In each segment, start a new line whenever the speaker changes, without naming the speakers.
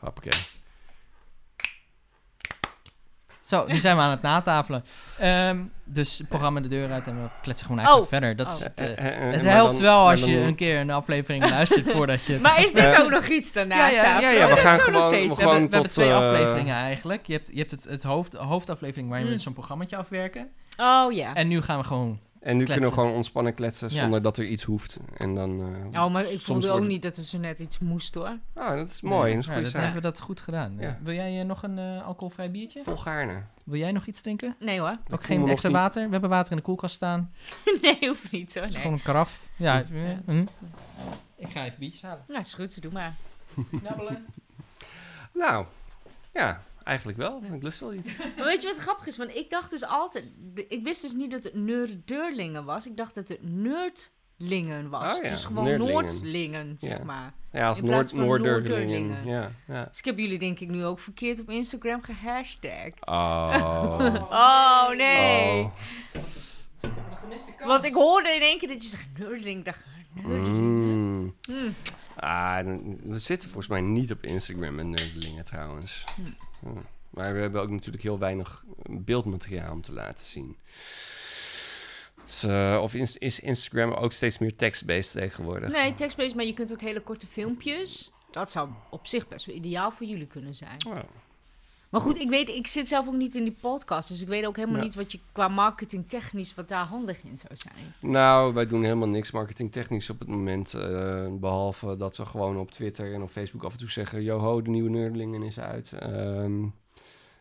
Hoppakee.
Zo, nu zijn we aan het natafelen. Ehm, dus programma de deur uit en we kletsen gewoon eigenlijk verder. Dat is
Eh,
het,
eh,
eh,
eh, eh,
het
maar
helpt
dan-
wel
maar
als
dan-
je een keer een aflevering luistert voordat je... het
Maar is
gaat
dit
Eh,
ook nog iets daarna?
ja, ja,
tafel?
ja, ja,
Oh,
we
dat
gaan
zo nog
gewoon-
We
steeds.
hebben, we
tot,
hebben twee
eh,
afleveringen eigenlijk. Je hebt, je hebt het, het hoofd, hoofdaflevering waarin we
Mm.
zo'n programmaatje afwerken.
Oh ja.
En nu gaan we gewoon...
En nu kunnen
kletsen.
we gewoon ontspannen kletsen
Ja.
zonder dat er iets hoeft. En dan... eh,
Oh, maar ik
soms
voelde ook
worden-
niet dat er zo net iets moest hoor.
Ah, dat is mooi.
Nee,
dat is een
ja,
goede
dat
zaak.
hebben we dat goed gedaan.
Ja.
Wil jij eh, nog een eh, alcoholvrij biertje?
Volgaarne.
Wil jij nog iets drinken?
Nee hoor.
Ik
Ook
voel me
geen
nog
extra
niet- Oh,
water? We hebben water in de koelkast staan.
nee, hoeft niet hoor.
Het is
Nee.
gewoon een karaf. Ja, eh, hm. Ik ga even biertjes halen.
Nou, is goed, doe maar.
Knabbelen.
Nou, ja, eigenlijk wel. Ik lust wel iets.
Maar weet je wat grappig is? Want ik dacht dus altijd... de- Ik wist dus niet dat het Neurdeurlingen was. Ik dacht dat het Nerdlingen was.
Oh ja,
Dus gewoon
Neurdlingen.
Noordlingen, zeg
Ja.
maar.
Ja, als
In plaats
Noord
van
Noorderlingen.
Noorderlingen.
Ja, ja.
Dus ik heb jullie denk ik nu ook verkeerd op Instagram gehashtagd.
Oh.
Oh, nee.
Oh.
Want ik hoorde in één keer dat je zegt Neurdeling. Ik dacht, Neurdeling.
Mm.
Mm.
Ah, dan- we zitten volgens mij niet op Instagram met nerdelingen trouwens. Ja. Maar we hebben ook natuurlijk heel weinig eh, beeldmateriaal om te laten zien. Dus, eh, of is, is Instagram ook steeds meer text-based tegenwoordig?
Nee, tekstbeest, maar je kunt ook hele korte filmpjes. Dat zou op zich best wel ideaal voor jullie kunnen zijn.
Oh.
Maar goed, ik weet, ik zit zelf ook niet in die podcast. Dus ik weet ook helemaal
Ja.
niet wat je qua marketing technisch, wat daar handig in zou zijn.
Nou, wij doen helemaal niks marketingtechnisch op het moment. eh, behalve dat we gewoon op Twitter en op Facebook af en toe zeggen... Joho, de nieuwe Nerdelingen is uit. Ehm,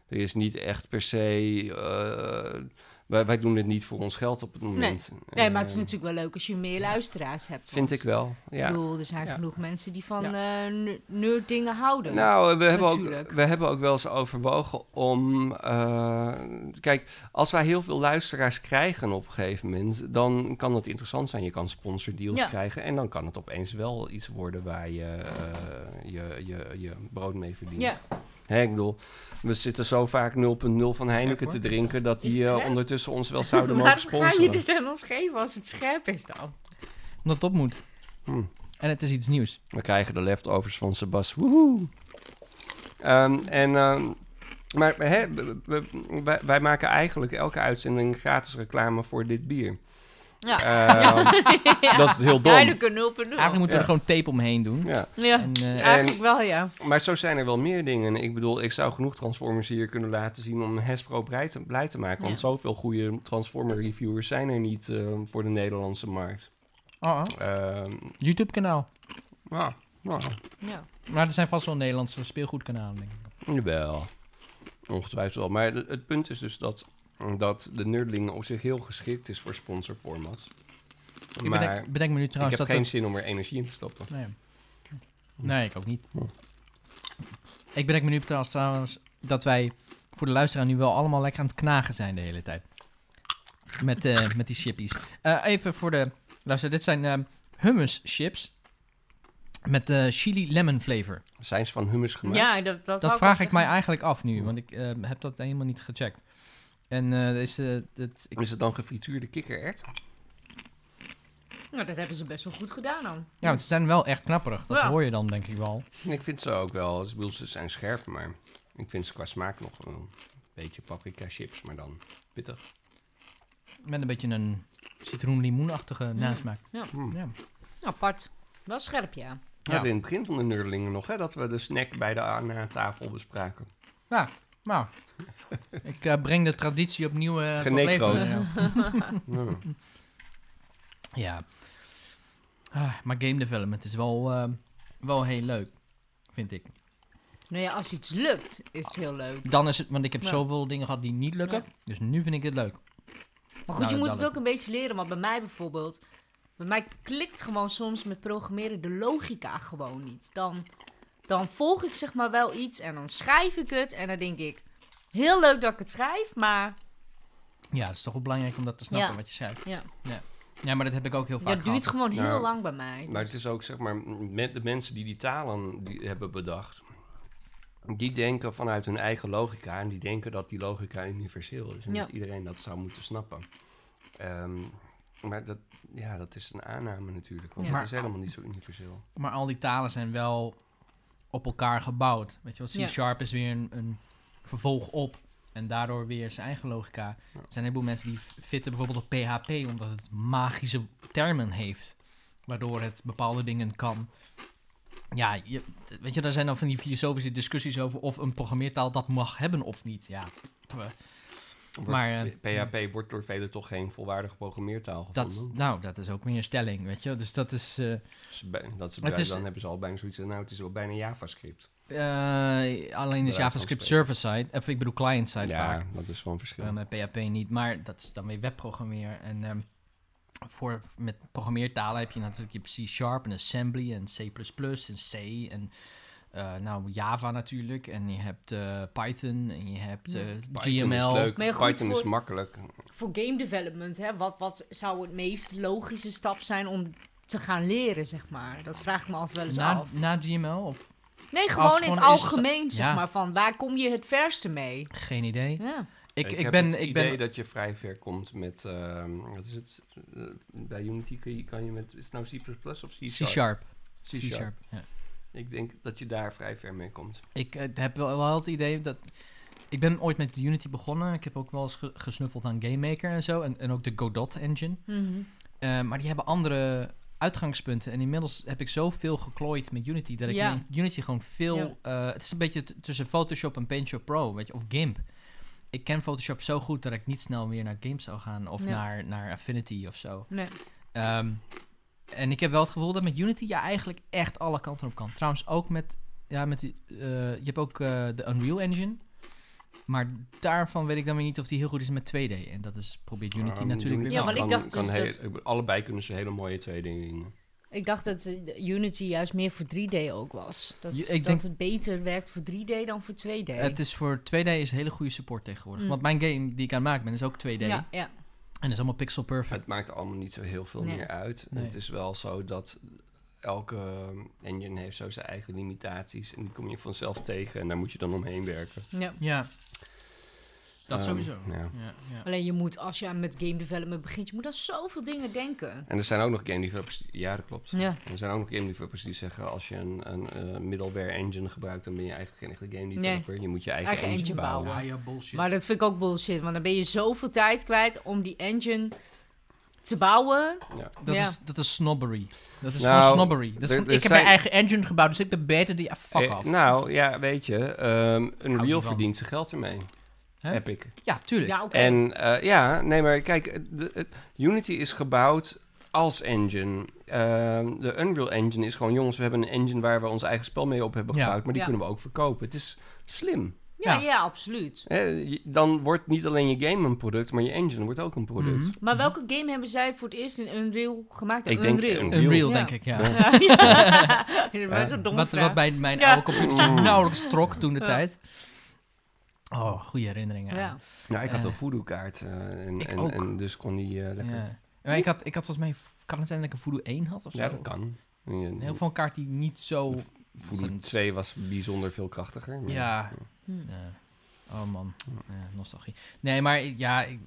er is niet echt per se... eh, wij, wij doen dit niet voor ons geld op het moment.
Nee, maar het is
Ehm,
natuurlijk wel leuk als je meer luisteraars hebt.
Vind ik
want
wel,
Ik
ja.
bedoel, er zijn
Ja.
genoeg mensen die van eh nerd dingen houden.
Nou, we hebben, ook,
Natuurlijk.
we hebben ook wel eens overwogen om... eh, kijk, als wij heel veel luisteraars krijgen op een gegeven moment... dan kan het interessant zijn. Je kan sponsordeals
Ja.
krijgen... en dan kan het opeens wel iets worden waar je eh, je, je, je brood mee verdient.
ja,
Hè, ik bedoel, we zitten zo vaak 0.0 van Heineken
Ja,
te
hoor.
drinken... dat
Is
die
het
eh,
scherp?
ondertussen ons wel zouden mogen
waarom ga je
sponsoren.
dit aan ons geven als het scherp is dan?
Omdat het op moet.
Hm.
En het is iets nieuws.
We krijgen de leftovers van Sebas. Woehoe! Ehm, en, ehm, maar hè, we- we- wij, wij maken eigenlijk elke uitzending gratis reclame voor dit bier.
Ja.
Ehm, Dat is heel dom.
Duidelijke 0.0.
Eigenlijk moeten we
Ja.
er gewoon tape omheen doen.
ja.
Ja,
En, eh,
eigenlijk wel ja.
Maar zo zijn er wel meer dingen. Ik bedoel, ik zou genoeg Transformers hier kunnen laten zien om Hespro blij te, blij te maken. Want
Ja.
zoveel goede Transformer-reviewers zijn er niet ehm, voor de Nederlandse markt.
oh, oh,
Ehm,
YouTube-kanaal.
ja, nou,
ja.
Maar er zijn vast wel Nederlandse speelgoedkanalen, denk ik.
Jawel. Ongetwijfeld wel. Maar het het punt is dus dat, dat de nerdlingen op zich heel geschikt is voor sponsorformats.
Ik
Maar
bedenk, bedenk me nu
ik heb
trouwens dat...
geen
het-
zin om er energie in te stoppen.
Nee. nee, ik ook niet.
Hm.
Ik bedenk me nu trouwens, trouwens dat wij voor de luisteraar nu wel allemaal lekker aan het knagen zijn de hele tijd. Met, eh, met die chippies. Eh, even voor de luisteraar. Dit zijn eh, hummus chips met eh, chili lemon flavor.
Zijn ze van hummus gemaakt?
ja, dat, dat, wou
Dat vraag
ook
ik mij
zeggen.
eigenlijk af nu, want ik eh, heb dat helemaal niet gecheckt. En eh deze, dit, ik,
Is het dan gefrituurde kikkererwt?
Nou, dat hebben ze best wel goed gedaan dan.
ja, nou, ze zijn wel echt knapperig. Dat
Ja.
hoor je dan denk ik wel.
Ik vind ze ook wel. Ik bedoel, ze zijn scherp, maar ik vind ze qua smaak nog wel een beetje paprika chips, maar dan pittig.
Met een beetje een citroen-limoenachtige nasmaak.
Hmm.
Ja.
Apart. Wel scherp, ja.
We hadden in het begin van de nerdlingen nog, hè, dat we de snack bij de aan eh, tafel bespraken.
Ja, nou. ik eh, breng de traditie opnieuw eh tot
Genekroot.
leven. Ja.
Ja.
Ja. Ah, maar game development is wel, eh, wel heel leuk, vind ik.
Nou ja, als iets lukt, is het heel leuk.
Dan is het, want ik heb
Ja.
zoveel dingen gehad die niet lukken. Dus nu vind ik het leuk.
Maar goed,
Nou,
je moet
dat
het ook een beetje leren. Want bij mij bijvoorbeeld, bij mij klikt gewoon soms met programmeren de logica gewoon niet. Dan, dan volg ik zeg maar wel iets en dan schrijf ik het. En dan denk ik, heel leuk dat ik het schrijf, maar
Ja, het is toch wel belangrijk om dat te snappen
Ja.
wat je schrijft.
ja,
Ja, maar dat heb ik ook heel
ja,
vaak
het duurt
gehad.
gewoon heel
Nou,
lang bij mij.
Maar het is ook, zeg maar, m- met de mensen die die talen die hebben bedacht, die denken vanuit hun eigen logica en die denken dat die logica universeel is en
Ja.
dat iedereen dat zou moeten snappen. Ehm, maar dat, ja, dat is een aanname natuurlijk, want
Ja.
het is helemaal niet zo universeel.
Maar al die talen zijn wel op elkaar gebouwd. Weet je wel,
Ja.
C-Sharp is weer een, een vervolg op en daardoor weer zijn eigen logica. Er zijn een heleboel mensen die f- fitten bijvoorbeeld op PHP omdat het magische termen heeft, waardoor het bepaalde dingen kan. Ja, je, weet je, daar zijn dan van die filosofische discussies over of een programmeertaal dat mag hebben of niet. Ja, pff,
Wordt-
Maar, eh,
PHP wordt door velen toch geen volwaardige programmeertaal gevonden.
dat, nou, dat is ook weer een stelling, weet je. Dus dat is... eh,
Dus bij- dat ze
Maar het
bij-
is-
dan hebben ze al bijna zoiets. van, Nou, het is wel bijna JavaScript.
Eh, alleen is
van
JavaScript
spreken.
server-side, of ik bedoel client-side
ja,
vaak,
dat is wel een verschil.
Eh, met PHP niet, maar dat is dan weer webprogrammeer. En ehm, voor, met programmeertalen heb je natuurlijk je C-sharp en assembly en C++ en C en eh, nou Java natuurlijk. En je hebt eh, Python en je hebt eh,
Python is
GML.
leuk.
Maar ja, goed
Python is
voor-
makkelijk.
Voor game development, hè, wat, wat zou het meest logische stap zijn om te gaan leren, zeg maar? Dat vraag ik me altijd wel eens
Na,
af.
na GML of
Nee, gewoon in
gewoon is
het
het-
algemeen, zeg
ja.
maar. Van waar kom je het verste mee?
geen idee.
Ja.
Ik, ik,
heb het
ben, ik
idee
ben
dat je vrij ver komt met... ehm, wat is het? Eh, bij Unity kun je, kan je met... Is het nou C++ of C-sharp?
C-sharp.
C-sharp.
C-sharp, ja.
Ik denk dat je daar vrij ver mee komt.
Ik eh, heb wel, wel het idee dat... Ik ben ooit met Unity begonnen. Ik heb ook wel eens ge- gesnuffeld aan GameMaker en zo. En, en ook de Godot engine.
Mhm.
Eh, maar die hebben andere uitgangspunten. En inmiddels heb ik zoveel geklooid met Unity... dat ik
Ja.
in Unity gewoon veel...
Ja.
eh, het is een beetje t- tussen Photoshop en PaintShop Pro, weet je. Of GIMP. Ik ken Photoshop zo goed dat ik niet snel meer naar GIMP zou gaan. Of
Ja.
naar, naar Affinity of zo.
Nee.
Ehm, en ik heb wel het gevoel dat met Unity je eigenlijk echt alle kanten op kan. Trouwens, ook met. Ja, met die, eh, je hebt ook eh, de Unreal Engine. Maar daarvan weet ik dan weer niet of die heel goed is met 2D. En dat is, probeert Unity
Ehm,
natuurlijk weer
Unity
wel.
Ja, want ik
kan-
dacht
kan
dus
heel-
dat-
ik bedoel, Allebei kunnen ze hele mooie twee dingen in.
Ik dacht dat eh, de Unity juist meer voor 3D ook was. Dat,
Ja, ik
dat
denk- Eh,
het beter werkt voor 3D dan voor 2D.
Het is voor 2D is een hele goede support tegenwoordig.
Mm.
Want mijn game die ik aan het maken ben is ook 2D.
Ja, ja.
En is allemaal pixel perfect.
Het maakt allemaal niet zo heel veel
Nee.
meer uit.
Nee.
Het is wel zo dat elke engine heeft zo zijn eigen limitaties. En die kom je vanzelf tegen en daar moet je dan omheen werken.
ja.
Ja. Dat
Ehm,
sowieso.
ja.
Ja, ja.
Alleen je moet, als je aan met game development begint, je moet aan zoveel dingen denken.
En er zijn ook nog game developers... Ja, dat klopt.
Ja.
En er zijn ook nog game developers die zeggen... als je een, een eh, middleware engine gebruikt... dan ben je eigenlijk geen echte game developer. Je moet je eigen,
Eigen
engine,
engine
bouwen.
bouwen.
ja, bullshit.
Maar dat vind ik ook bullshit, want dan ben je zoveel tijd kwijt om die engine te bouwen.
Dat,
Ja.
is, dat is snobbery. Dat is
Nou,
gewoon snobbery. Dat is
er-
gewoon,
er
ik heb
zijn-
mijn eigen engine gebouwd, dus ik ben beter die... ah, fuck
Eh,
off.
nou, ja, weet je... ehm
niet
Unreal
van.
verdient zijn geld ermee.
Hè?
Epic.
Ja, tuurlijk.
Ja, oké.
En eh, ja, nee, maar kijk, eh, de- het- Unity is gebouwd als engine. Ehm, de Unreal Engine is gewoon, jongens, we hebben een engine waar we ons eigen spel mee op hebben
Ja.
gebouwd, maar die
Ja.
kunnen we ook verkopen. Het is slim.
ja,
ja.
ja. absoluut.
Hè, je- dan wordt niet alleen je game een product, maar je engine wordt ook een product.
Mhm.
Maar welke game hebben zij voor het eerst in Unreal gemaakt?
Ik denk
Unreal.
Unreal.
Unreal,
Ja.
denk ik, ja.
Ja, ja. Dat is best een domme
Wat,
vraag.
wat bij mijn
Ja.
oude computer
Mm.
nauwelijks trok toen de
Ja.
tijd. Oh, goede herinneringen.
Ja.
aan.
Nou, ik had
Eh.
een voodoo-kaart eh, en,
Ik
en,
ook.
en dus kon die eh, lekker... Ja,
Ja. Maar ik had, ik had volgens mij... Kan het zijn dat ik een Voodoo 1 had of zo?
dat kan. Ja,
In ieder geval een kaart die niet zo...
Voodoo
ontzettend-
2 was bijzonder veel krachtiger. maar-
Ja.
Hm.
ja. Oh man, Ja, nostalgie. Nee, maar ik- ja... ik-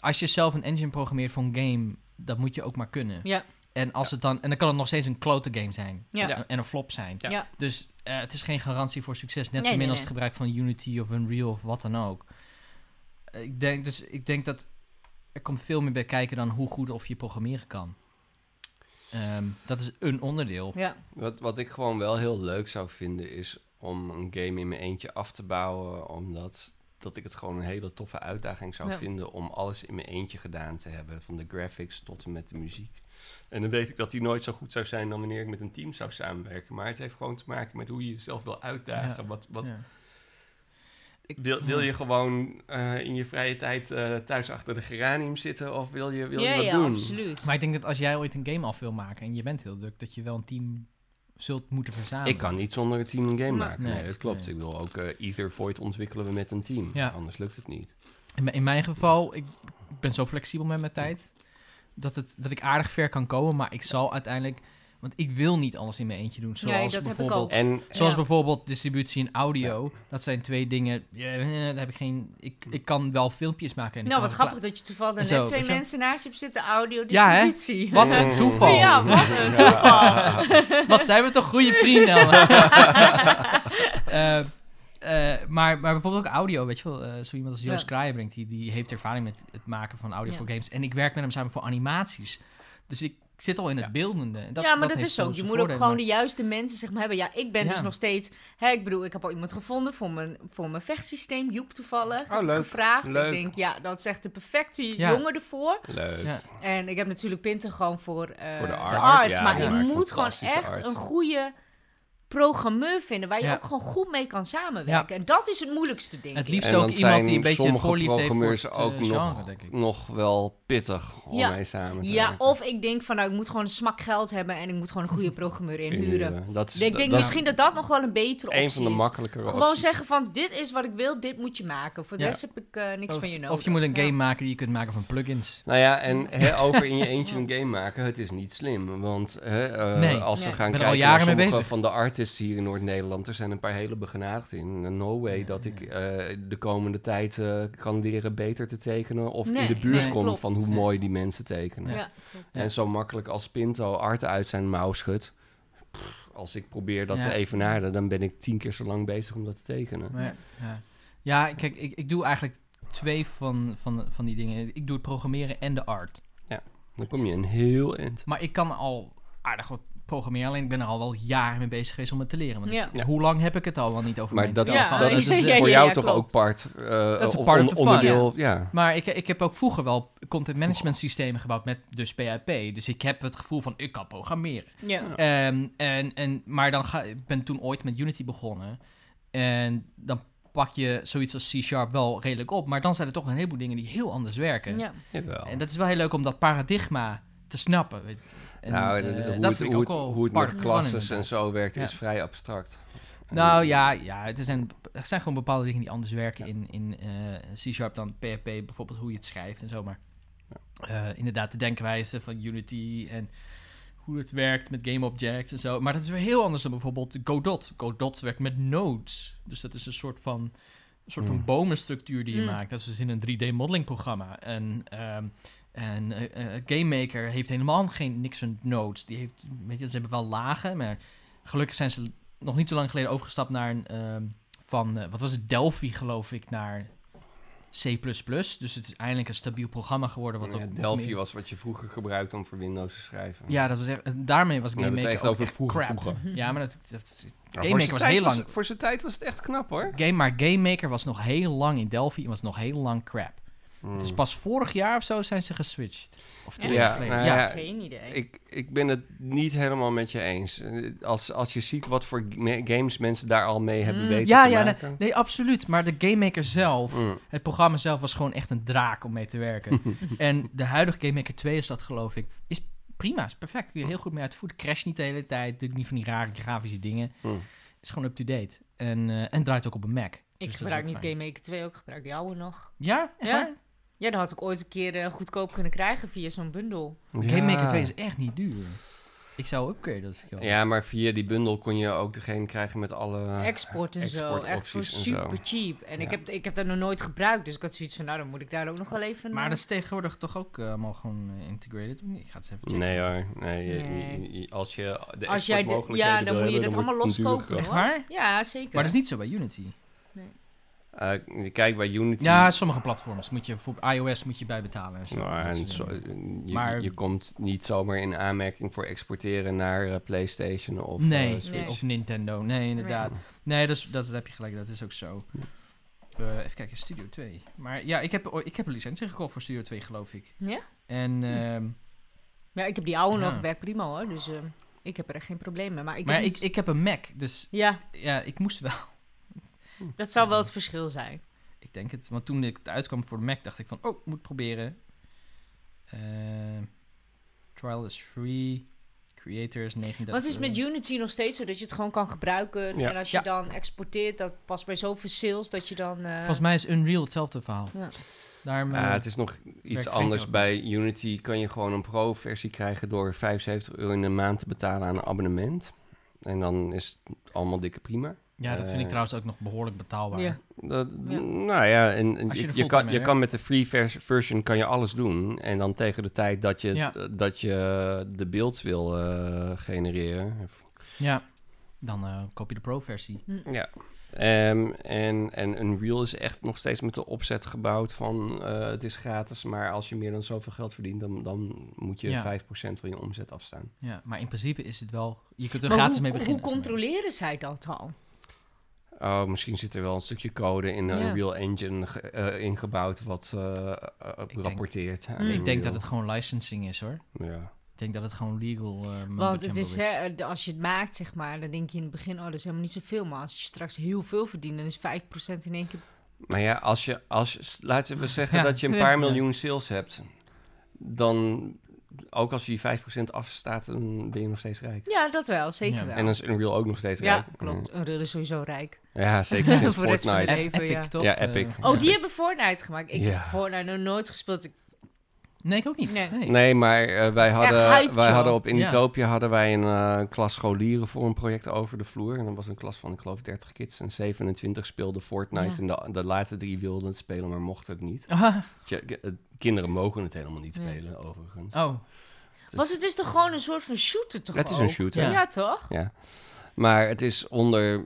als je zelf een engine programmeert voor een game... Dat moet je ook maar kunnen.
Ja.
En, als het dan, en dan kan het nog steeds een klote game zijn.
Ja.
En- En een flop zijn.
Ja.
Ja.
Dus eh, het is geen garantie voor succes. Net
Nee,
zo min
nee,
als
nee.
het gebruik van Unity of Unreal of wat dan ook. Eh, Ik denk, dus ik denk dat er komt veel meer bij kijken dan hoe goed of je programmeren kan. Ehm, dat is een onderdeel.
Ja.
Wat, wat ik gewoon wel heel leuk zou vinden is om een game in mijn eentje af te bouwen, omdat dat ik het gewoon een hele toffe uitdaging zou
Ja.
vinden om alles in mijn eentje gedaan te hebben, van de graphics tot en met de muziek. En dan weet ik dat die nooit zo goed zou zijn dan wanneer ik met een team zou samenwerken, maar het heeft gewoon te maken met hoe je jezelf wil uitdagen.
Ja.
Wat, wat,
Ja. Ik-
Wil, wil je gewoon eh, in je vrije tijd eh, thuis achter de geranium zitten of wil je, wil je
ja,
wat
ja,
doen?
absoluut.
Maar ik denk dat als jij ooit een game af wil maken en je bent heel druk, dat je wel een team zult moeten verzamelen.
Ik kan niet zonder een team een game
Maar-
maken. Nee,
Nee,
dat klopt.
nee.
Ik wil ook eh, Ether Void ontwikkelen we met een team.
Ja.
Anders lukt het niet.
In, mijn- in mijn geval, ik ben zo flexibel met mijn tijd. Dat, het, dat ik aardig ver kan komen. Maar ik zal uiteindelijk Want ik wil niet alles in mijn eentje doen. Zoals
Nee, dat heb ik
bijvoorbeeld,
ook.
En
Zoals
Ja.
bijvoorbeeld distributie en audio. Dat zijn twee dingen. Ja, eh, daar heb ik geen. Ik, ik kan wel filmpjes maken. En ik
Nou,
kan
wat
wel
grappig dat je toevallig net
Zo,
twee
zo.
mensen naast je hebt zitten audio
Ja, hè?
distributie.
Wat een toeval.
Ja, wat een toeval.
pla- Wat zijn we toch goede vrienden? allemaal. Eh, eh, maar, maar bijvoorbeeld ook audio, weet je wel. eh, zo iemand als Joost
Ja.
Kraaien brengt, die, die heeft ervaring met het maken van audio
Ja.
voor games. En ik werk met hem samen voor animaties. Dus ik zit al in het beeldende. En Dat,
ja, maar dat,
heeft
is ook.
soms
Je
een
moet ook
voordeel,
gewoon
maar-
de juiste mensen zeg maar, hebben. Ja, ik ben
Ja.
dus nog steeds... Hè, ik bedoel, ik heb al iemand gevonden voor mijn, voor mijn vechtsysteem. Joep toevallig.
Oh,
Heb ik
leuk.
Gevraagd.
Leuk.
Ik denk, ja, dat is echt de perfecte
Ja.
jongen ervoor.
leuk.
Ja.
En ik heb natuurlijk Pinter gewoon voor, eh,
Voor de
de
art.
art.
Ja,
maar
die
je
maakt
moet gewoon
fantastische
echt
art.
een goede programmeur vinden... waar je
Ja.
ook gewoon goed mee kan samenwerken. En dat is het moeilijkste, ding
Het
ik.
liefst
En
ook
dan
iemand die
zijn
een beetje
sommige
voorliefde heeft voor
programmeurs
het
ook
ook
nog-
genre, denk ik.
Nog wel pittig om
Ja.
mee samen te
Ja,
werken.
of ik denk van, nou, ik moet gewoon een smak geld hebben... en ik moet gewoon een goede programmeur inhuren.
Inhuren. Dat is
Ik denk
dus dat-
misschien dat dat nog wel een betere optie
een van de
is.
makkelijkere
Gewoon
opties.
zeggen van, dit is wat ik wil, dit moet je maken. Voor de
Ja.
rest heb ik eh, niks
Of,
van je nodig.
of je moet een
Ja.
game maken die je kunt maken van plugins.
Nou ja,
Mm.
en hè, over in je eentje een game maken, het is niet slim. Want hè, eh,
Nee.
als we
Nee.
gaan
Ik ben
kijken
er al
naar
jaren mee
sommige
bezig.
van de artists hier in Noord-Nederland, er zijn een paar hele begenadigd in. No way
Ja,
dat
ja.
ik eh, de komende tijd eh, kan leren beter te tekenen of in
Nee,
de buurt
nee,
kom
klopt.
van hoe mooi die mensen tekenen.
Ja.
Ja.
En zo makkelijk als Pinto art uit zijn mouw schudt, pff, als ik probeer dat
Ja.
te evenaren, dan ben ik tien keer zo lang bezig om dat te tekenen.
Maar, ja. ja, kijk, ik, ik doe eigenlijk twee van, van, van die dingen. Ik doe het programmeren en de art.
Dan kom je een heel eind.
Maar ik kan al aardig wat programmeren, alleen ik ben er al wel jaren mee bezig geweest om het te leren. Want ik-
Ja.
Ja.
hoe lang heb ik het al wel niet over
Maar
mijn
dat is,
spel
Ja,
gehad?
dat is
Dus, eh,
Ja,
voor
ja,
jou
ja,
toch
klopt.
ook part, eh,
is
of
part
on-
of the fun,
onderdeel, ja.
Maar ik, ik heb ook vroeger wel content management systemen gebouwd met dus PHP. Dus ik heb het gevoel van, ik kan programmeren.
Ja.
Ehm, en, en, maar dan ga, ik ben toen ooit met Unity begonnen. En dan pak je zoiets als C-Sharp wel redelijk op. Maar dan zijn er toch een heleboel dingen die heel anders werken.
Ja.
Jawel.
En dat is wel heel leuk om dat paradigma te snappen. weet- En,
nou,
eh,
en, eh, hoe
dat
het,
vind ik
hoe
ook
het-
al
hoe het
part
met
of the fun
klasses en
inderdaad.
zo werkt,
Ja.
is vrij abstract.
Nou
En-
ja, ja het zijn, er zijn gewoon bepaalde dingen die anders werken in, in eh, C-Sharp dan PHP. Bijvoorbeeld hoe je het schrijft en zo. Maar eh, inderdaad, de denkwijze van Unity en hoe het werkt met GameObjects en zo. Maar dat is weer heel anders dan bijvoorbeeld Godot. Godot werkt met nodes. Dus dat is een soort van, een soort van
Mm.
bomenstructuur die je
Mm.
maakt. Dat is dus in een 3D-modeling programma. En... ehm, en eh, eh, Game Maker heeft helemaal geen niks van nodes. Die heeft, weet je, ze hebben wel lagen, maar gelukkig zijn ze nog niet zo lang geleden overgestapt naar een ehm, van eh, wat was het Delphi geloof ik naar C++. Dus het is eindelijk een stabiel programma geworden wat
eh, Ja,
ook
Delphi
meer-
was wat je vroeger gebruikte om voor Windows te schrijven.
Ja, dat was echt, eh, daarmee was
We
Game
hebben het
Maker
echt
ook
over
echt
vroeger,
crap.
vroeger.
Ja, maar dat, dat
Maar
Game
voor
Maker
zijn
was
tijd
heel lang-
voor zijn tijd was het echt knap hoor.
game, maar Game Maker was nog heel lang in Delphi en was nog heel lang crap.
Hmm.
Het is pas vorig jaar of zo zijn ze geswitcht. Of twee
Ja,
jaar geleden.
nou
ja.
ja,
Geen idee.
Ik, ik ben het niet helemaal met je eens. Eh, Als, als je ziet wat voor me- games mensen daar al mee hebben
Mm.
weten
Hmm. Ja,
te
ja, nee,
maken.
nee, absoluut. Maar de Game Maker zelf,
Mm.
het programma zelf was gewoon echt een draak om mee te werken. en de huidige Game Maker 2 is dat, geloof ik. Is prima, is perfect. Kun je heel goed mee uit de voet. Crash niet de hele tijd. Doet niet van die rare grafische dingen.
Mm.
Is gewoon up-to-date. En, eh, en draait ook op een Mac. Dus dat
Ik
is
gebruik
ook
niet
fijn.
Game Maker 2, ook ik gebruik die oude nog.
Ja? Echt
Ja?
waar?
Ja, dat had ik ooit een keer eh, goedkoop kunnen krijgen via zo'n bundel.
Game
Ja.
Maker 2 is echt niet duur. Ik zou upgraden als ik wel-
Ja, maar via die bundel kon je ook degene krijgen met alle...
Export en zo, echt voor
exportopties en zo.
super cheap. En ik,
Ja.
heb, ik heb dat nog nooit gebruikt, dus ik had zoiets van, nou, dan moet ik daar ook nog wel even...
Maar
eh,
dat is tegenwoordig toch ook eh, allemaal gewoon eh, integrated? Ik ga het eens even checken.
Nee hoor, nee, je-
Nee.
je- je- als je de
Als jij de-
exportmogelijkheden
ja, dan
wil
moet
hebben,
je dat
dan
allemaal
moet het
loskopen,
duurder
Echt waar?
Ja, zeker.
Maar dat is niet zo bij Unity.
gaan. Eh, kijk, bij Unity...
Ja, sommige platforms moet je voor iOS moet je bij betalen. En zo.
Nou,
Dat
en
soort
zo-
dingen.
je,
Maar-
je komt niet zomaar in aanmerking voor exporteren naar eh, PlayStation of eh,
nee,
Switch.
Nee.
of Nintendo. Nee, inderdaad. Nee, dat, is, dat, dat heb je gelijk. Dat is ook zo. Eh, even kijken, Studio 2. Maar ja, ik heb, ooit- ik heb een licentie gekocht voor Studio 2, geloof ik.
Ja? Hm.
En, ehm,
Ja, ik heb die oude
Ja.
nog, werkt prima hoor. Dus eh, ik heb er echt geen probleem mee. Maar ik,
maar
heb
ik,
niet-
ik heb een Mac, dus
Ja,
ja, ik moest wel.
dat zou wel het verschil zijn.
Ik denk het. Want toen ik het uitkwam voor de Mac, dacht ik van, oh, ik moet proberen. Eh, trial is free. Creators 39.
Want het is met Unity nog steeds zo dat je het gewoon kan gebruiken.
Ja.
En als je
eh, Ja.
dan exporteert, dat past bij zoveel sales dat je dan... eh,
Volgens mij is Unreal hetzelfde verhaal. Daarom,
Ja,
eh,
het is nog iets
Fate
anders.
ook.
Bij Unity kan je gewoon een pro-versie krijgen door 75 euro in de maand te betalen aan een abonnement. En dan is het allemaal dikke prima.
ja, dat vind
eh,
ik trouwens ook nog behoorlijk betaalbaar.
Ja.
Dat,
Ja.
Nou ja, en, en
Als je
je,
er
je,
fulltime
kan,
mee
je
werkt.
kan met de free vers- version kan je alles doen. En dan tegen de tijd dat je, het-
Ja.
eh, dat je de beelds wil eh, genereren.
Ja. Dan eh, koop je de pro-versie.
Ja. Ehm, en, en Unreal is echt nog steeds met de opzet gebouwd van eh, het is gratis, maar als je meer dan zoveel geld verdient, dan, dan moet je
Ja.
5% van je omzet afstaan.
Ja, maar in principe is het wel... Je kunt er
Maar
gratis
hoe,
mee beginnen.
Hoe controleren zij dat dan?
Oh, misschien zit er wel een stukje code in eh,
Ja.
een Unreal Engine ge- eh, ingebouwd wat eh, eh,
denk-
rapporteert. aan
Mm.
Ik denk dat
Unreal.
het gewoon licensing is, hoor.
Ja.
Ik denk dat het gewoon legal... eh, mumbo
Want het
jumbo
is, hè, eh, de- als je het maakt, zeg maar, dan denk je in het begin, oh, dat is helemaal niet zoveel. Maar als je straks heel veel verdient, dan is 5% in één keer...
Maar ja, als je, als je, s- laten we zeggen
Ja.
dat je een paar
Ja.
miljoen sales hebt, dan ook als je die 5% afstaat, dan ben je nog steeds rijk.
Ja, dat wel, zeker
Ja.
wel.
En dan is Unreal ook nog steeds
ja,
rijk. eh.
klopt. Een reel is sowieso rijk.
Ja, zeker sinds
Voor de rest van
Fortnite.
Ep-
het even,
Epic,
ja.
toch?
Ja,
Eh,
Epic.
Oh, die hebben Fortnite gemaakt. Ik
Ja.
heb Fortnite nog nooit gespeeld. Ik-
Nee, ik ook niet.
Nee.
Nee.
Nee, maar eh, wij,
echt
hadden,
hype,
wij
joh.
hadden op Inutopia hadden wij een eh, klas scholieren voor een project over de vloer. En dat was een klas van, ik geloof, 30 kids. En 27 speelden Fortnite.
Ja.
En de, de laatste drie wilden het spelen, maar mochten het niet.
Ah,
Tja, k- eh, kinderen mogen het helemaal niet
Nee.
spelen, overigens.
oh,
Want het is toch gewoon een soort van shooter, toch
Het is
ook?
een shooter.
Ja,
Ja.
toch?
Maar het is onder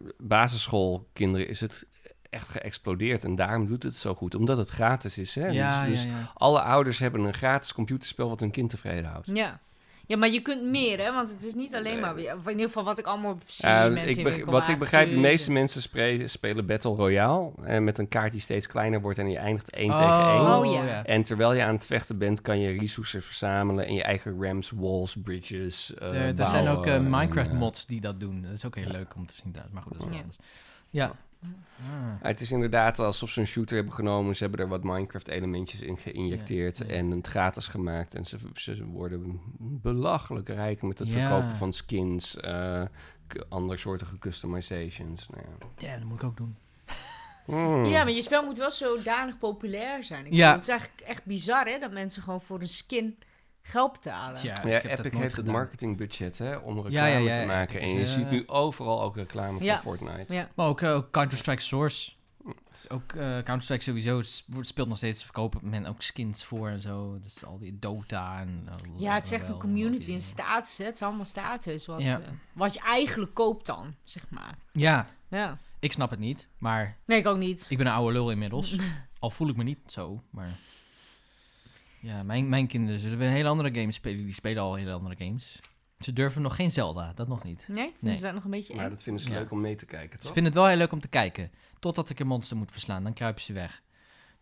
basisschoolkinderen is het echt geëxplodeerd. En daarom doet het zo goed, omdat het gratis is. Hè?
ja,
dus dus
ja, ja.
alle ouders hebben een gratis computerspel wat hun kind tevreden houdt.
Ja. Ja, maar je kunt meer, hè? Want het is niet alleen
Nee.
maar... weer- of In ieder geval wat ik allemaal zie,
Ja,
mensen
ik beg-
in dus-
wat ik
winkelwagentjes
begrijp, de meeste
en-
mensen spre- spelen Battle Royale. En met een kaart die steeds kleiner wordt en je eindigt één tegen één.
Oh,
Oh, ja.
ja.
En terwijl je aan het vechten bent, kan je resources verzamelen en je eigen ramps, walls, bridges. eh,
Er, er zijn
bouwen
ook eh,
en,
Minecraft
eh,
mods die dat doen. Dat is ook heel leuk om te zien trouwens. Maar goed, dat is wel
Ja.
anders. Ja. Ah.
het is inderdaad alsof ze een shooter hebben genomen. Ze hebben er wat Minecraft-elementjes in geïnjecteerd
Ja, ja.
en het gratis gemaakt. En ze, ze worden belachelijk rijk met het
Ja.
verkopen van skins, eh k- andersoortige customizations. Nou, ja.
Damn, dat moet ik ook doen.
Hmm.
Ja, maar je spel moet wel zodanig populair zijn. Ik
Ja.
bedoel, Het is eigenlijk echt bizar, hè? Dat mensen gewoon voor een skin geld betalen.
Tja, ik
Ja,
heb dat
Epic
nooit
heeft het
gedaan.
marketingbudget hè, om reclame
Ja, ja, ja,
te
ja,
maken.
Epic
en je
is, eh,
ziet nu overal ook reclame
Ja.
voor Fortnite.
Ja.
Maar ook, eh, ook Counter-Strike Source. Het is ook eh, Counter-Strike sowieso het s- wordt- speelt nog steeds verkopen men ook skins voor en zo. Dus al die Dota en... eh,
Ja, het is echt
wel-
een community,
die-
een status. hè. Het is allemaal status. Wat,
Ja.
eh, wat je eigenlijk koopt dan, zeg maar.
Ja,
Ja.
ik snap het niet. Maar
Nee, ik ook niet.
ik ben een oude lul inmiddels. al voel ik me niet zo, maar... Ja, mijn, mijn kinderen zullen weer hele andere games spelen. Die spelen al hele andere games. Ze durven nog geen Zelda, dat nog niet.
Nee? Is
Nee.
dat nog een beetje
Maar
eng?
dat vinden ze
Ja.
leuk om mee te kijken,
Ze
toch?
vinden het wel heel leuk om te kijken. Totdat ik een monster moet verslaan, dan kruipen ze weg.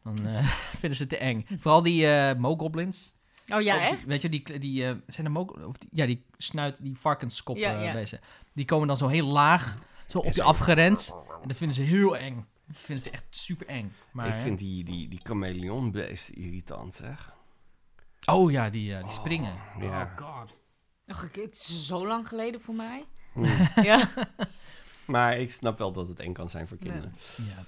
Dan eh, vinden ze het te eng. Vooral die eh mogoblins.
Oh ja,
Ook die-
echt?
Weet je, die, die eh, zijn er mogoblins? Of die- ja, die snuit, die varkenskoppen
Ja, ja.
eh, wezen. Die komen dan zo heel laag, zo op je afgerend. En dat vinden ze heel eng. Dat vinden ze echt super eng. Maar,
Ik vind die, die, die chameleonbeesten irritant, zeg.
Oh ja, die, eh, die springen.
ja.
Oh god.
Ach, ik- het is zo lang geleden voor mij.
Hmm.
ja.
Maar ik snap wel dat het eng kan zijn voor
Ja.
kinderen.
Ja.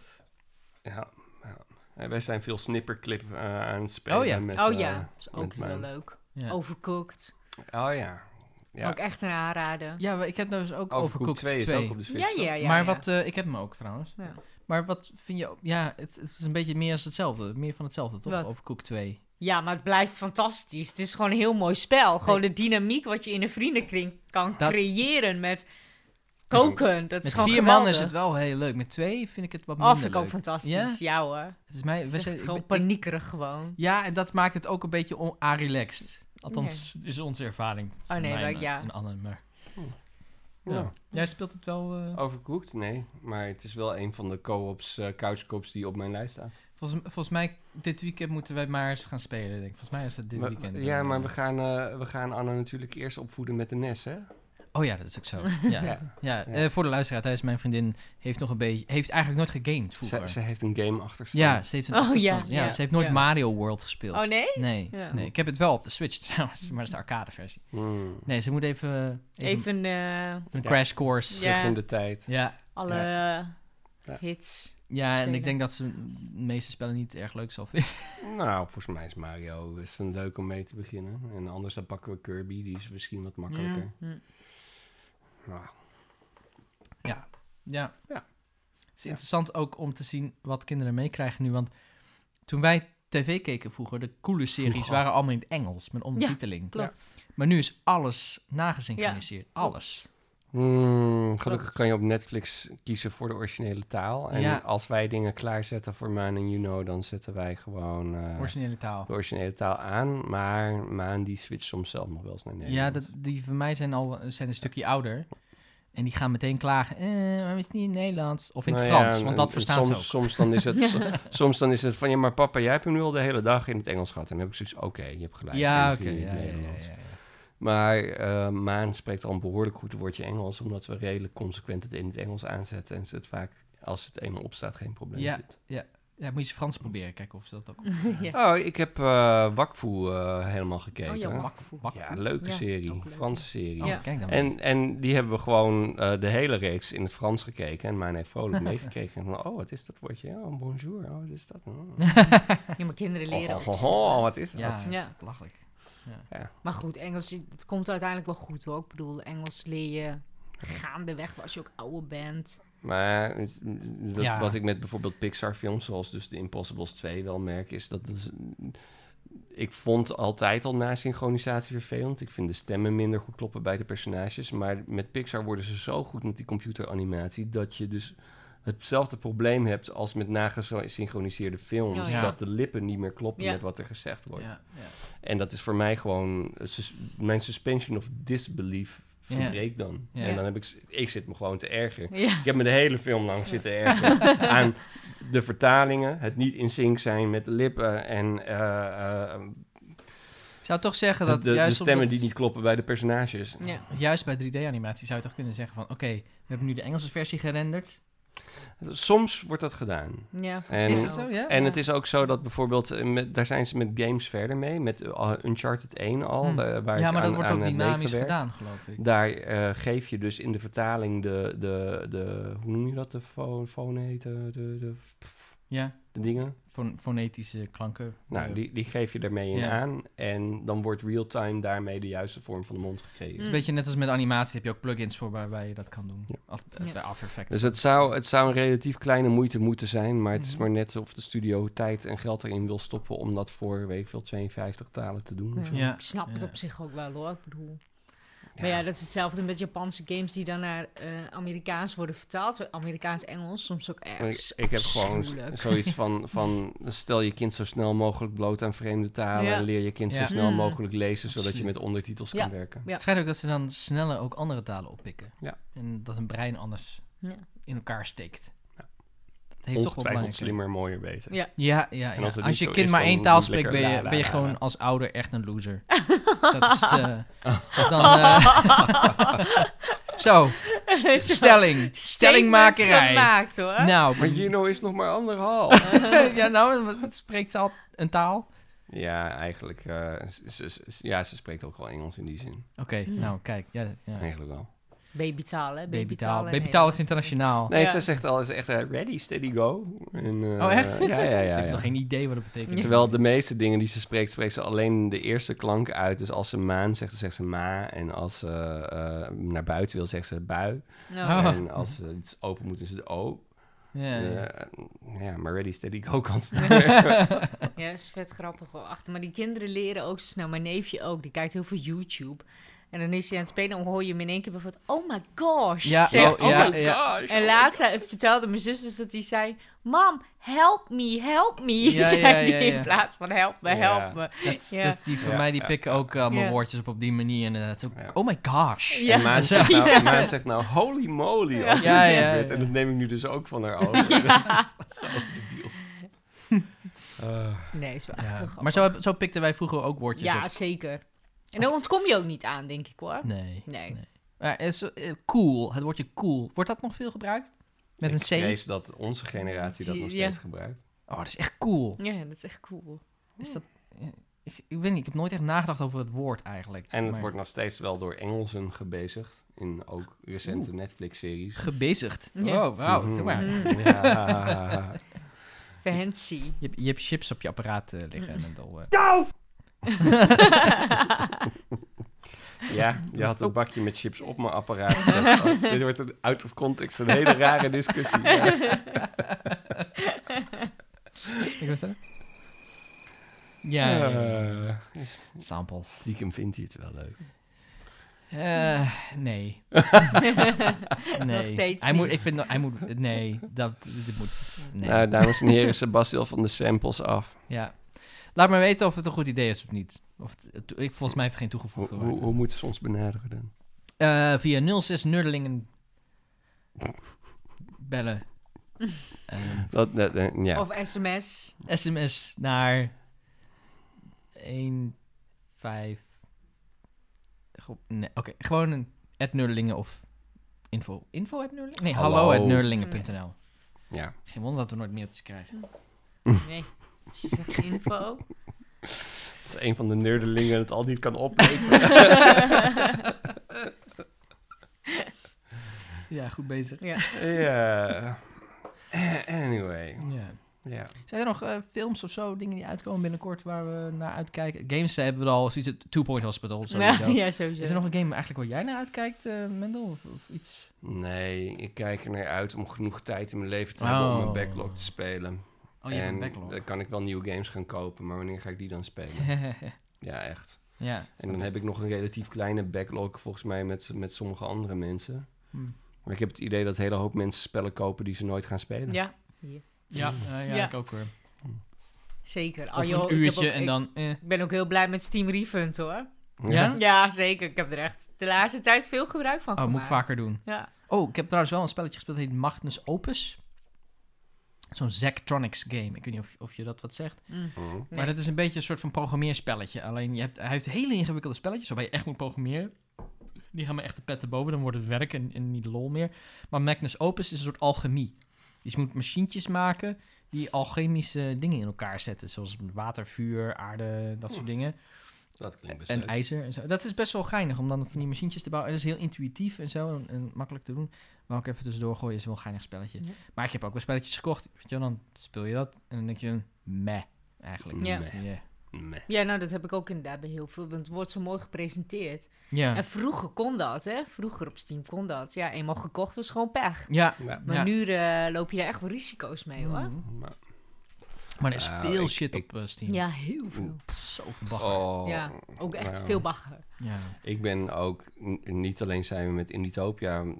Ja. ja. Eh, Wij zijn veel snipperclip eh, aan het spelen.
Oh ja.
met,
oh
eh,
ja, dat is ook
met
heel
mijn-
leuk.
Ja.
Overcooked.
Oh ja. Ja.
Ook echt een aanrader.
ja, maar ik
nou
heb dus ook
Overcooked,
Overcooked
2
2.
is ook op de
Ja,
Switch. toch?
ja, ja.
maar
ja.
wat, eh, ik heb hem ook trouwens.
Ja.
Maar wat vind je... Ja, het, het is een beetje meer als hetzelfde. Meer van hetzelfde, toch?
Wat?
Overcooked 2.
Ja, maar het blijft fantastisch. Het is gewoon een heel mooi spel. Gewoon de dynamiek wat je in een vriendenkring kan
Dat-
creëren met koken. Dat is
Met
gewoon
vier
geweldig.
man is het wel heel leuk. Met twee vind ik het wat
Oh,
minder
vind ik
leuk.
ook fantastisch. Ja,
Ja?
hoor.
Het is mij,
Het
we
is
zijn,
echt
ik
gewoon
ben- ik-
paniekerig gewoon.
ja, en dat maakt het ook een beetje on, relaxed. Althans, is onze ervaring. van
nee,
mij
maar ik-
en-
ja.
En Anne, Oh, maar...
Ja.
Ja. Jij speelt het wel...
Oh.
eh,
Overcooked? Nee. Maar het is wel een van de co-ops, eh couchcops die op mijn lijst staat.
volgens, volgens mij, dit weekend moeten wij maar eens gaan spelen, denk ik. Volgens mij is dat dit
We-
weekend.
ja, maar we gaan, eh, we gaan Anna natuurlijk eerst opvoeden met de Nes, hè?
Oh ja, dat is ook zo. Ja, ja. eh, voor de luisteraar thuis, mijn vriendin heeft nog een beetje... Heeft eigenlijk nooit gegamed
Ze,
vroeger.
ze heeft een game achter zich.
ja, ze heeft een
Oh,
achterstand.
ja,
Ja,
ja,
ze heeft nooit
ja.
Mario World gespeeld.
Oh nee?
Nee,
Ja.
nee, ik heb het wel op de Switch trouwens, maar dat is de arcade versie.
Hmm.
Nee, ze moet even, eh, even,
Even eh,
Ja.
een crash course.
Ja.
Ja,
Terug in de tijd.
ja,
alle hits.
Ja, en
Spelen.
ik denk dat ze de meeste spellen niet erg leuk zal vinden.
Nou, volgens mij is Mario is een leuk om mee te beginnen. En anders dan pakken we Kirby, die is misschien wat makkelijker.
Mm, mm.
Nou,
Ja. Ja.
Ja.
Het is
Ja.
interessant ook om te zien wat kinderen meekrijgen nu. Want toen wij tv keken vroeger, de coole series
Vroeger.
waren allemaal in het Engels met ondertiteling.
Klopt.
Maar nu is alles nagesynchroniseerd. Alles.
mm, gelukkig
Klopt.
kan je op Netflix kiezen voor de originele taal. En
Ja.
als wij dingen klaarzetten voor Maan en You Know, dan zetten wij gewoon eh,
Originele taal.
de originele taal aan. Maar Maan die switcht soms zelf nog wel eens naar
ja,
Nederland.
dat, die van mij zijn al zijn een stukje ouder. En die gaan meteen klagen. Eh, waarom is het niet in het Nederlands? Of in het
Nou ja,
Frans,
en-
want
en-
dat
en
verstaan
soms,
ze ook.
Soms dan, is het, soms dan is het van, ja, maar papa, jij hebt hem nu al de hele dag in het Engels gehad. En dan heb ik zoiets, oké, je hebt gelijk.
Ja,
ik
oké.
vind het
ja,
in
ja,
het
ja,
Nederlands.
ja, ja.
Maar eh, Maan spreekt al een behoorlijk goed woordje Engels, omdat we redelijk consequent het in het Engels aanzetten en ze het vaak, als het eenmaal opstaat, geen probleem
Ja.
vindt.
Ja, moet je ze Frans proberen, kijken of ze dat ook...
ja.
Oh, ik heb eh Wakfu eh, helemaal gekeken.
Oh ja,
Wakfu. Wakfu.
Ja, leuke
Ja,
serie,
ook leuk.
Franse serie.
Oh,
Ja.
kijk dan.
En, en die hebben we gewoon eh, de hele reeks in het Frans gekeken. En mijn heeft vrolijk meegekeken. En van, oh, wat is dat woordje? Oh, bonjour. Oh, wat is dat? Oh,
Ja, maar kinderen leren
oh,
ook.
oh, oh, wat is dat?
ja, dat
Ja.
is belachelijk.
Maar goed, Engels, het komt uiteindelijk wel goed hoor. Ik bedoel, Engels leer je gaandeweg als je ook ouder bent.
Maar het- dat-
Ja.
wat ik met bijvoorbeeld Pixar-films zoals dus The Impossibles 2 wel merk, is dat het is- ik vond altijd al nasynchronisatie vervelend. Ik vind de stemmen minder goed kloppen bij de personages. Maar met Pixar worden ze zo goed met die computeranimatie dat je dus hetzelfde probleem hebt als met nagesynchroniseerde films.
Oh, ja.
Dat de lippen niet meer kloppen
Ja.
met wat er gezegd wordt.
Ja, ja.
En dat is voor mij gewoon... sus- mijn suspension of disbelief
Ja.
verbreekt dan.
Ja.
En dan heb ik... z- Ik zit me gewoon te erger.
Ja,
Ik heb me de hele film lang zitten ergeren aan de vertalingen, het niet in sync zijn met de lippen en eh, eh,
Ik zou toch zeggen dat
de, de
juist,
stemmen
omdat-
die niet kloppen bij de personages.
ja.
juist bij 3D-animatie zou je toch kunnen zeggen van... Oké, we hebben nu de Engelse versie gerenderd.
Soms wordt dat gedaan.
ja
En-
is dat zo, ja?
En
Ja.
het is ook zo dat bijvoorbeeld, eh, met, daar zijn ze met games verder mee, met eh, Uncharted 1 al.
Hm.
eh, waar
ja,
ik
maar dat
aan-
wordt
aan
ook
heb
dynamisch
meegewerkt.
gedaan, geloof ik.
Daar eh, geef je dus in de vertaling de, de, de hoe noem je dat, de fo- foneten, de, de,
Ja,
de dingen.
fon- fonetische klanken.
Nou,
Ja.
die, die geef je daarmee in
Ja.
aan. En dan wordt real-time daarmee de juiste vorm van de mond gegeven.
Mm.
Het is een beetje net als met animatie heb je ook plugins voor waarbij je dat kan doen.
Ja.
Als- eh,
Ja.
Bij After Effects.
Dus het zou, het zou een relatief kleine moeite moeten zijn. Maar het is
Mhm.
maar net of de studio tijd en geld erin wil stoppen. om dat voor weet ik veel 52 talen te doen. of zo.
Ja.
Ik snap het
Ja.
op zich ook wel hoor. Ik bedoel. Maar ja, dat is hetzelfde met Japanse games die dan naar eh, Amerikaans worden vertaald. Amerikaans-Engels, soms ook
Maar
erg.
Ik, ik heb gewoon z-
afschuwelijk.
zoiets van, van. stel je kind zo snel mogelijk bloot aan vreemde talen.
Ja.
en leer je kind
Ja.
zo snel
Mm.
mogelijk lezen. zodat je
Absoluut.
met ondertitels
Ja.
kan werken.
Ja.
Het schijnt ook dat ze dan sneller ook andere talen oppikken.
Ja.
En dat een brein anders
Ja.
in elkaar steekt.
Ja.
Dat heeft toch wel
Ongetwijfeld
belangrijk.
slimmer, mooier, beter.
Ja.
Ja, ja, ja.
als
Als,
het niet
je
zo
kind
is,
maar
dan
één
moet
taal
het
spreekt, ben
lekker
je,
la, la,
ben je
la,
gewoon
la.
als ouder echt een loser. dat is... eh, dan,
Oh.
eh, zo, st- stelling. Stellingmakerij.
gemaakt hoor.
Nou,
Maar Juno is nog maar anderhalf.
ja, nou, wat- wat spreekt ze al een taal? Oké,
ja, eigenlijk. eh, ze, ze- ze- ja, ze spreekt ook wel Engels in die zin.
Hmm.
nou, kijk. Ja, ja.
Eigenlijk wel.
Babytaal, hè?
Babytaal.
en
Babytaal is
Nederlands.
internationaal.
Nee,
Ja.
ze zegt al, is echt eh, ready, steady, go. En, eh,
Oh, echt?
Ja, ja,
Ze
ja.
heeft
ja.
nog geen idee wat dat betekent.
Terwijl de meeste dingen die ze spreekt, spreekt ze alleen de eerste klank uit. Dus als ze maan zegt, dan zegt ze ma. En als ze eh, naar buiten wil, zegt ze bui.
Ja.
Oh.
En als ze iets open moet, is het o.
Ja,
Eh,
ja.
Ja, maar ready, steady, go kan ze niet meer.
Ja, is vet grappig wel achter. Maar die kinderen leren ook zo snel. Mijn neefje ook, die kijkt heel veel YouTube. En dan is hij aan het spelen en dan hoor je hem in één keer bijvoorbeeld... Oh my gosh,
Ja,
zegt
oh,
hij.
ja,
my gosh.
En laatst zei- vertelde mijn zus dus dat hij zei... Mam, help me, help me,
Ja,
zei
ja,
hij
ja, ja.
in plaats van help me,
Ja.
help me.
Dat, is-
Ja.
dat, die van
Ja,
mij die
ja,
pikken ook allemaal
Ja.
woordjes op op die manier. En dat is ook,
Ja.
oh my gosh.
En
Ja.
Maan zegt, nou,
Ja.
Maan zegt nou, holy moly. Als
Ja,
ja,
ja,
ja,
ja.
En dat neem ik nu dus ook van haar over. Dat is zo debiel. Eh,
Nee, is wel echt
Ja.
heel grappig.
Maar zo, heb- zo pikten wij vroeger ook woordjes
Ja,
op.
zeker. En daar ontkom je ook niet aan, denk ik hoor.
Nee.
Nee.
Nee. Maar is, eh, cool, het woordje cool. Wordt dat nog veel gebruikt? Met
ik
een C?
vrees dat onze generatie dat nog
Ja.
steeds gebruikt.
Oh, dat is echt cool.
Ja, dat is echt cool.
Is dat, eh, ik ik weet niet, ik heb nooit echt nagedacht over het woord eigenlijk.
En het
maar-
wordt nog steeds wel door Engelsen gebezigd. In ook recente Netflix-series.
Gebezigd.
Ja.
Oh, wauw.
Mm-hmm.
doe maar.
Mhm.
Ja.
Fancy.
Je, hebt- je hebt chips op je apparaat eh, liggen. En het al, eh,
ja, je
oh.
had een bakje met chips op mijn apparaat. gezet. Oh, dit wordt een out of context een hele rare discussie. Ja.
Ik wil stellen. Ja, ja, ja.
Eh,
samples.
stiekem vindt hij het wel leuk.
Eh, nee. nee.
Nog steeds
Hij moet,
niet.
ik vind, dat- hij moet, nee, dat, dit moet, nee.
Nou, dames en heren, Sebastian van de samples af.
ja. Laat me weten of het een goed idee is of niet. Of het, het- ik, volgens mij heeft het geen
Hoe,
toegevoegde
hoe,
waarde.
hoe moeten ze ons benaderen dan?
Eh, via 06 Nurdelingen bellen. Ehm,
Dat, dat- eh, ja.
Of sms.
SMS naar 1, 5. Go- Nee, oké. Gewoon een at Nurdelingen of info. Info at Nurdelingen? Nee, hallo,
Hallo.
at Nurdelingen.nl.
ja.
Geen wonder dat we nooit mailtjes krijgen.
Nee. Ze zegt info.
Dat is een van de nerdelingen het al niet kan opleveren.
Ja, goed bezig.
ja. Eh, Anyway.
Ja.
Ja.
Zijn er nog eh, films of zo, dingen die uitkomen binnenkort waar we naar uitkijken? Games hebben we al, zoiets als Two Point Hospital sowieso.
Nou, ja, sowieso.
Is er nog een game eigenlijk waar jij naar uitkijkt, eh, Mendel? Of, of iets?
Nee, ik kijk er naar uit om genoeg tijd in mijn leven te
Oh.
hebben om mijn backlog te spelen.
Oh, je hebt
en
een backlog.
dan kan ik wel nieuwe games gaan kopen, maar wanneer ga ik die dan spelen? ja, echt.
ja.
En dan heb ik nog een relatief kleine backlog volgens mij met, met sommige andere mensen.
Hm.
Maar ik heb het idee dat een hele hoop mensen spellen kopen die ze nooit gaan spelen.
Ja,
Ja, eh, ja,
Ja.
ik ook hoor.
zeker. Ah,
Of
joh, ik
een
heb
uurtje
ook-
en
ik-
dan... eh.
Ik ben ook heel blij met Steam Refund hoor.
Ja?
Ja, zeker. Ik heb er echt de laatste tijd veel gebruik van
Oh,
gemaakt.
moet ik vaker doen.
Ja.
Oh, ik heb trouwens wel een spelletje gespeeld, dat heet Magnus Opus. Zo'n Zectronics game. Ik weet niet of, of je dat wat zegt.
Hm.
Mhm.
Maar dat is een beetje een soort van programmeerspelletje. Alleen je hebt, hij heeft hele ingewikkelde spelletjes waarbij je echt moet programmeren. Die gaan me echt de pet te boven, dan wordt het werk en, en niet lol meer. Maar Magnus Opus is een soort alchemie. Dus je moet machientjes maken die alchemische dingen in elkaar zetten. Zoals water, vuur, aarde, dat soort dingen.
Dat klinkt best
En
leuk.
ijzer en zo. Dat is best wel geinig om dan van die machientjes te bouwen. En dat is heel intuïtief en zo en, en makkelijk te doen. Maar ook even tussendoor gooien is wel een geinig spelletje.
Ja.
Maar ik heb ook wel spelletjes gekocht. Weet je wel, dan speel je dat en dan denk je, meh, eigenlijk.
Ja.
Meh.
Ja.
Meh.
ja, nou dat heb ik ook inderdaad bij heel veel. Want het wordt zo mooi gepresenteerd.
Ja.
En vroeger kon dat, hè? Vroeger op Steam kon dat. Ja, eenmaal gekocht was gewoon pech.
Ja.
Ja.
Maar
Ja.
nu eh, loop je daar echt wel risico's mee hoor.
Mm.
Maar-
Maar er is
Nou,
veel
ik-
shit
ik-
op eh, Steam.
Ja, heel veel.
Zo verbagger.
Oh,
Ja, ook echt
nou.
veel bagger.
Ja.
Ik ben ook, n- niet alleen zijn we met Inditopia m,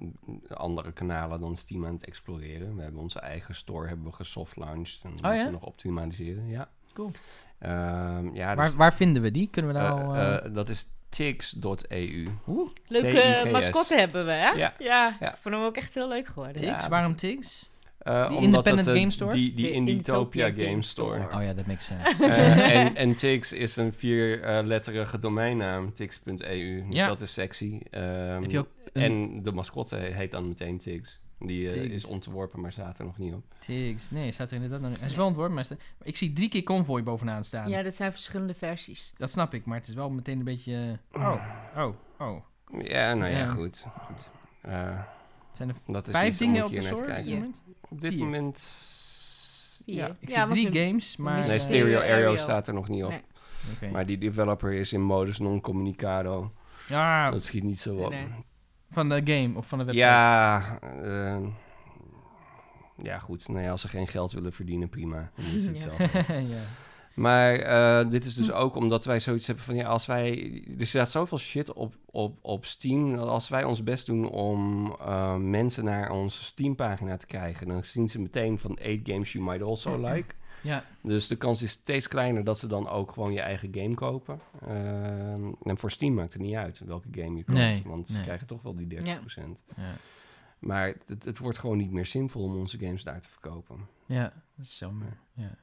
andere kanalen dan Steam aan het exploreren. We hebben onze eigen store hebben we gesoftlaunched en moeten
Oh ja?
we nog optimaliseren. Ja.
Cool.
Ehm, ja, dus,
Waar, waar vinden we die? Kunnen we daar
eh,
al... eh,
eh, dat is E tix.eu.
Oeh,
Leuke
TIGS.
eh, mascotte hebben we, hè?
Ja.
ja.
Ja.
Ik vond hem ook echt heel leuk geworden.
Tix?
ja,
Waarom Tix?
Eh, omdat
Independent
dat, eh,
Game Store?
Die, die
De
Inditopia
Inditopia
Game
Game
Store.
Store.
Oh ja, dat makes sense.
Eh, en, en Tix is een vierletterige domeinnaam, tix.eu. Dus
Ja.
dat is sexy. Ehm,
Heb je ook een
En de mascotte he- heet dan meteen Tix. Die eh,
Tix.
is ontworpen, maar staat er nog niet op.
Tix? Nee, staat er inderdaad nog niet. Hij is wel ontworpen, maar hij staat- maar ik zie drie keer Convoy bovenaan staan.
Ja, dat zijn verschillende versies.
Dat snap ik, maar het is wel meteen een beetje... eh, Oh, oh, oh.
Ja, nou ja,
Ja.
goed. goed. Eh,
Zijn er
dat is
vijf
iets om
dingen
een
op de
keer naar te
store?
kijken.
op dit moment?
Op dit
Vier.
moment...
Vier.
Ja.
Ik
Ja,
zie
want
drie
we-
games, maar...
missen-
Nee,
eh,
Stereo
Stereo Aerial
Aerial.
staat er nog niet op.
Nee.
oké.
Maar die developer is in modus non-communicado.
Ah,
Dat schiet niet zo op.
Nee.
van de game of van de website.
Ja, eh, ja, goed. Nou ja, als ze geen geld willen verdienen, prima. Dan is het
Ja.
zelf.
ja. Hm.
Maar eh, dit is dus ook omdat wij zoiets hebben van ja, als wij. Er staat zoveel shit op, op, op Steam. dat Als wij ons best doen om eh, mensen naar onze Steam-pagina te krijgen, dan zien ze meteen van 8 games you might also like.
Ja.
Dus de kans is steeds kleiner dat ze dan ook gewoon je eigen game kopen. Ehm, en voor Steam maakt het niet uit welke game je koopt,
Nee,
want
nee.
ze krijgen toch wel die 30%.
Ja.
Maar het, het wordt gewoon niet meer zinvol om onze games daar te verkopen.
Ja, dat is jammer. Ja.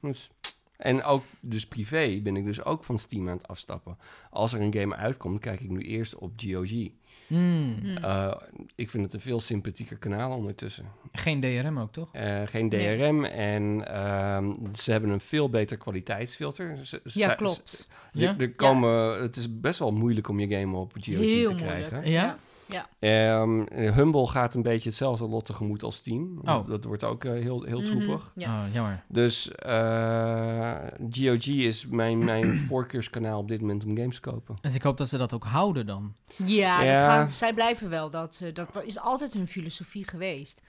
Dus En ook dus privé ben ik dus ook van Steam aan het afstappen. Als er een game uitkomt, kijk ik nu eerst op GOG.
Hmm.
Hm.
Eh, ik vind het een veel sympathieker kanaal ondertussen.
Geen DRM ook, toch?
Eh, geen
Nee.
DRM en ehm, ze hebben een veel beter kwaliteitsfilter. Ze- ze-
Ja,
ze-
klopt.
je-
Ja?
er komen, Het is best wel moeilijk om je game op GOG
Heel
te
moeilijk.
krijgen.
Ja?
Ehm, Humble gaat een beetje hetzelfde lot tegemoet als Steam.
Oh.
Dat wordt ook eh, heel, heel
Mhm,
troepig.
Ja.
Oh, jammer.
Dus eh, GOG is mijn, mijn voorkeurskanaal op dit moment om games te kopen.
Dus ik hoop dat ze dat ook houden dan.
Dus- Ja, dat
Ja.
gaan, zij blijven wel. Dat, eh, dat is altijd hun filosofie geweest.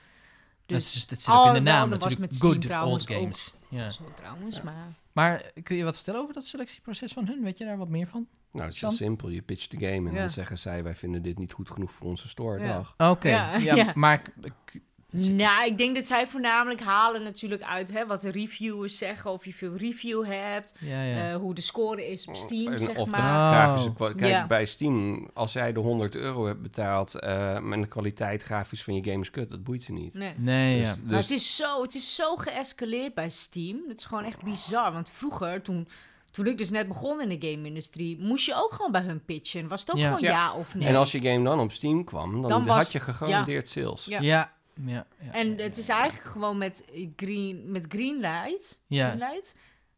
dat,
Dus
is, dat zit
Oh,
ook in de
wel,
naam
dat was
natuurlijk.
met Steam
Good
trouwens Dus-
old games. Ja.
zo trouwens, maar...
Maar eh, kun je wat vertellen over dat selectieproces van hun? Weet je daar wat meer van?
Nou, het is heel
Dan?
simpel. Je pitcht de game en
Ja.
dan zeggen zij... wij vinden dit niet goed genoeg voor onze store.
Ja.
Dag.
Oké,
Ja,
ja,
ja.
maar... k- k- z-
Nou, ik denk dat zij voornamelijk halen natuurlijk uit hè, wat de reviewers zeggen. Of je veel review hebt.
Ja, ja.
eh, hoe de score is op Steam,
Oh, En
zeg
of de
maar.
Oh.
grafische kwa- Kijk,
Ja.
bij Steam, als jij de 100 euro hebt betaald... eh en de kwaliteit grafisch van je game is kut, dat boeit ze niet.
Nee.
nee,
Dus-
ja.
dus-
Maar het is, zo, het is zo geëscaleerd bij Steam. Dat is gewoon echt bizar. Want vroeger, toen, toen ik dus net begon in de game-industrie... moest je ook gewoon bij hun pitchen. Was het ook
Ja.
gewoon ja,
Ja.
of nee.
En als je game dan op Steam kwam, dan,
Dan was-
had je gegarandeerd sales.
Ja.
Ja. Ja, ja, ja,
En
ja,
het is
ja.
eigenlijk gewoon met, eh, green, met Greenlight.
Ja.
Greenlight.